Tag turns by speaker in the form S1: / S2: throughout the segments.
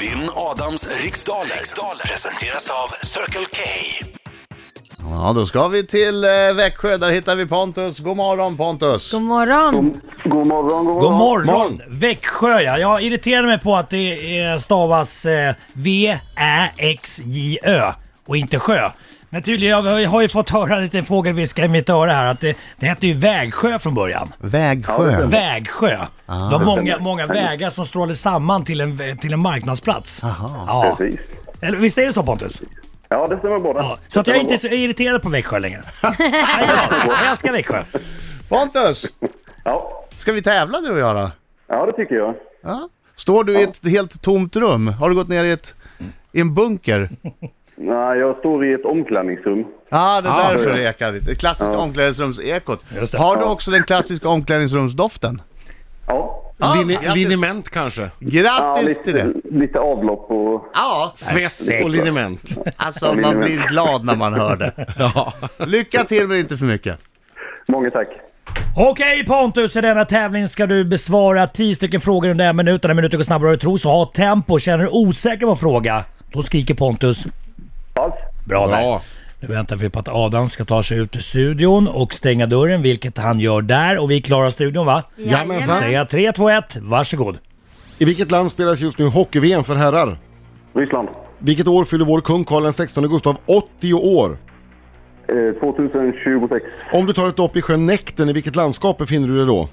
S1: Vinn Adams riksdaler. riksdaler presenteras av Circle K.
S2: Ja, då ska vi till eh, Växjö. Där hittar vi Pontus. God morgon Pontus!
S3: God morgon!
S4: God morgon, god
S5: God
S4: morgon.
S5: morgon!
S2: Morgon.
S5: Växjö ja, jag irriterar mig på att det eh, stavas eh, V-Ä-X-J-Ö och inte sjö. Men tydligen, jag har ju fått höra en liten fågelviska i mitt öra här att det, det hette ju Vägsjö från början.
S2: Vägsjö.
S5: Vägsjö. det var många, många vägar som strålade samman till en, vä- till en marknadsplats. Ja.
S4: Precis.
S5: Eller, visst är det så Pontus?
S4: Ja, det stämmer båda.
S5: Ja. Så att jag är inte så irriterad på Växjö längre. Nej, bra. jag älskar Växjö.
S2: Pontus!
S4: Ja.
S2: Ska vi tävla du och jag då?
S4: ja, det tycker jag.
S2: Ja. Står du i ett helt tomt rum? Har du gått ner i, ett, i en bunker?
S4: Nej, jag står i ett omklädningsrum.
S2: Ja, ah, det är
S5: Ah,
S2: därför
S5: ja.
S2: det ekar lite. Det klassiska omklädningsrumsekot.
S5: Just det.
S2: Har du också den klassiska omklädningsrumsdoften?
S4: Ja.
S2: Ah,
S6: Lini-
S2: grattis.
S6: liniment kanske?
S4: ja
S2: Grattis till det!
S4: lite, lite avlopp och...
S2: Ja,
S6: Svett och liniment.
S2: alltså man blir glad när man hör det.
S6: Ja.
S2: Lycka till men inte för mycket.
S4: Många tack.
S5: Okej Pontus, i denna tävling ska du besvara 10 stycken frågor under en minut. Den här minuten går snabbare än du tror, så ha tempo. Känner du dig osäker på en fråga, då skriker Pontus.
S4: Pass.
S5: Bra där.
S6: Bra.
S5: Nu väntar vi på att Adam ska ta sig ut ur studion och stänga dörren, vilket han gör där. Och vi klarar studion va?
S6: Jajamensan.
S3: Jajamän.
S5: Säga 3, 2, 1, varsågod.
S6: I vilket land spelas just nu hockey-VM för herrar?
S4: Ryssland.
S6: Vilket år fyller vår kung Karl XVI Gustav 80 år?
S4: Eh, 2026.
S6: Om du tar ett dopp i sjön Näkten, i vilket landskap befinner du dig då?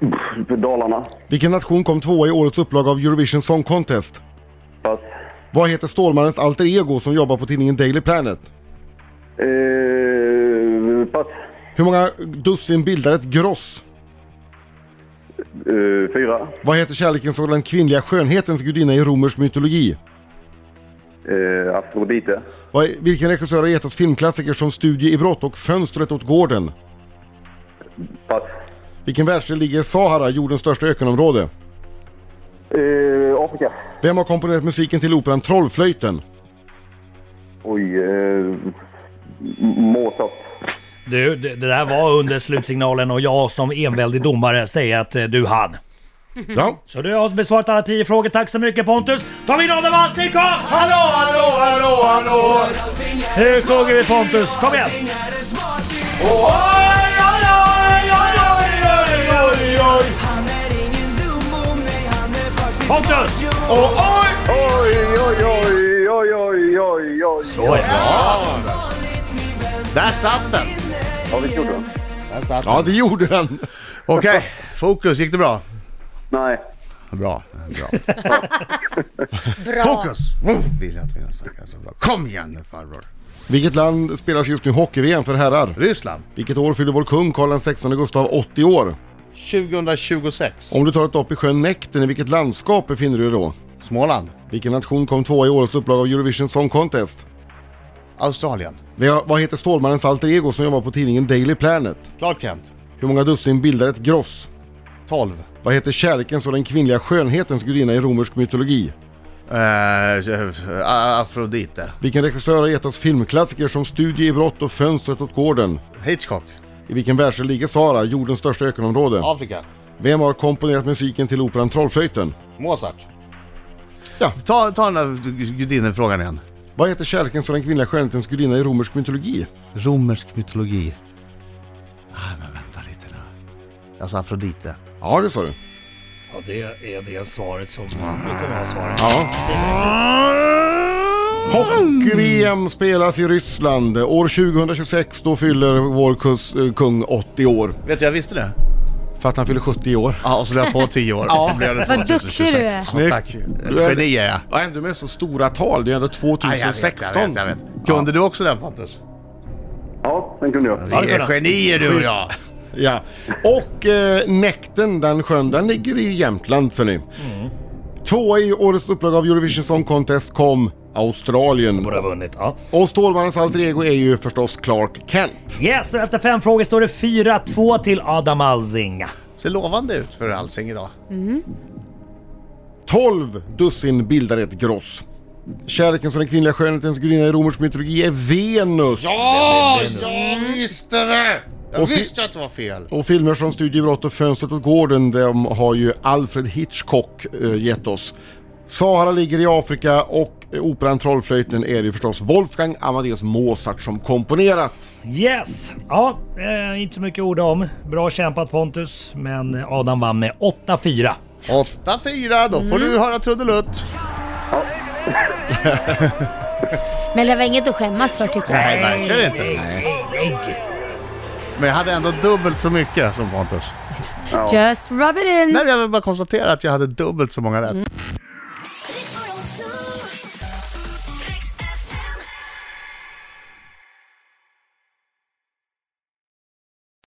S4: Pff, Dalarna.
S6: Vilken nation kom tvåa i årets upplaga av Eurovision Song Contest?
S4: Pass.
S6: Vad heter Stålmannens alter ego som jobbar på tidningen Daily Planet?
S4: Eh, pass.
S6: Hur många dussin bildar ett gross?
S4: Eh, fyra.
S6: Vad heter kärlekens och den kvinnliga skönhetens gudinna i romersk mytologi?
S4: Eh, Afrodite.
S6: Vad är, vilken regissör har gett oss filmklassiker som Studie i brott och Fönstret åt gården?
S4: Pass.
S6: Vilken världsdel ligger Sahara, jordens största ökenområde?
S4: Eh, Afrika.
S6: Vem har komponerat musiken till operan Trollflöjten?
S4: Oj. Eh, Mozart.
S5: Du, det, det där var under slutsignalen och jag som enväldig domare säger att eh, du hann.
S6: Ja.
S5: Så du har besvarat alla 10 frågor. Tack så mycket Pontus. Ta in Adam Alsing, kom!
S2: Hallå, hallå, hallå, hallå!
S5: Nu sjunger vi Pontus, kom igen! Pontus!
S2: Och oj!
S4: Oj, oj, oj, oj, oj, oj, oj.
S2: Där satt den!
S4: Ja, vi gjorde det.
S2: Där satt den.
S6: ja, det gjorde den.
S2: Okej, fokus. Gick det bra?
S4: Nej.
S2: Bra. bra.
S3: Bra!
S2: Fokus! Woo! Vill jag att vi snackar så bra. Kom igen nu farbror.
S6: Vilket land spelas just nu hockey-VM för herrar?
S2: Ryssland.
S6: Vilket år fyller vår kung Karl XVI Gustav 80 år?
S2: 2026.
S6: Om du tar ett dopp i sjön Näkten, i vilket landskap befinner du dig då?
S2: Småland.
S6: Vilken nation kom tvåa i årets upplaga av Eurovision Song Contest?
S2: Australien.
S6: Vi har- Vad heter Stålmannens alter ego som jobbar på tidningen Daily Planet?
S2: Clark Kent.
S6: Hur många dussin bildar ett gross?
S2: 12.
S6: Vad heter kärlekens och den kvinnliga skönhetens gudinna i romersk mytologi?
S2: Eh, eh, Afrodite.
S6: Vilken regissör har gett oss filmklassiker som Studie i brott och Fönstret åt gården?
S2: Hitchcock.
S6: I vilken världsdel ligger Sahara, jordens största ökenområde?
S2: Afrika.
S6: Vem har komponerat musiken till operan Trollflöjten?
S2: Mozart.
S6: Ja.
S2: Ta, ta den där gudinnefrågan igen.
S6: Vad heter kärlekens och den kvinnliga skönhetens gudinna i romersk mytologi?
S2: Romersk mytologi. Ah, men vänta lite nu. Alltså Afrodite.
S6: Ja, det sa du.
S5: Ja, det är det svaret som brukar vara svaret.
S6: Hockey-VM spelas i Ryssland. År 2026 då fyller vår kus, eh, kung 80 år.
S2: Vet du, jag visste det.
S6: För att han fyller 70 i år.
S2: Ja, och så lade jag på 10 år. Ja. Så blev det
S3: Vad
S2: 2026.
S3: duktig du är.
S2: Ja, tack.
S6: Du är-
S2: Ett geni är jag.
S6: Ja, ändå med så stora tal. Det är ändå
S2: Ja, jag
S6: 2016.
S2: vet, jag vet, jag vet. Kunde du också den Pontus?
S4: Ja, den kunde jag.
S2: Vi är genier du och jag.
S6: Ja. Och eh, Näkten, den sjön, den ligger i Jämtland för nu. Tvåa i årets upplaga av Eurovision Song Contest kom Australien.
S5: Borde ha vunnit. Ja.
S6: Och Stålmannens alter ego är ju förstås Clark Kent.
S5: Yes, och efter fem frågor står det 4-2 till Adam Alsing.
S2: Ser lovande ut för Alsing idag.
S6: 12 dussin bildar ett gross. Kärleken som den kvinnliga skönhetens gudinna i romersk mytologi är Venus.
S2: Ja, jag visste det! Jag
S6: Och fi-
S2: visste att det var fel.
S6: Och filmer som Studiebrott och Fönstret åt gården, de har ju Alfred Hitchcock eh, gett oss. Sahara ligger i Afrika och eh, operan Trollflöjten är det ju förstås Wolfgang Amadeus Mozart som komponerat.
S5: Yes! Ja, eh, inte så mycket ord om. Bra kämpat Pontus, men Adam vann med 8-4.
S2: 8-4, då får du höra trudelutt.
S3: Men det var inget att skämmas för tycker jag.
S2: Nej, verkligen inte. Nej. Men jag hade ändå dubbelt så mycket som Pontus.
S3: Just rub it in.
S2: Nej, jag vill bara konstatera att jag hade dubbelt så många rätt.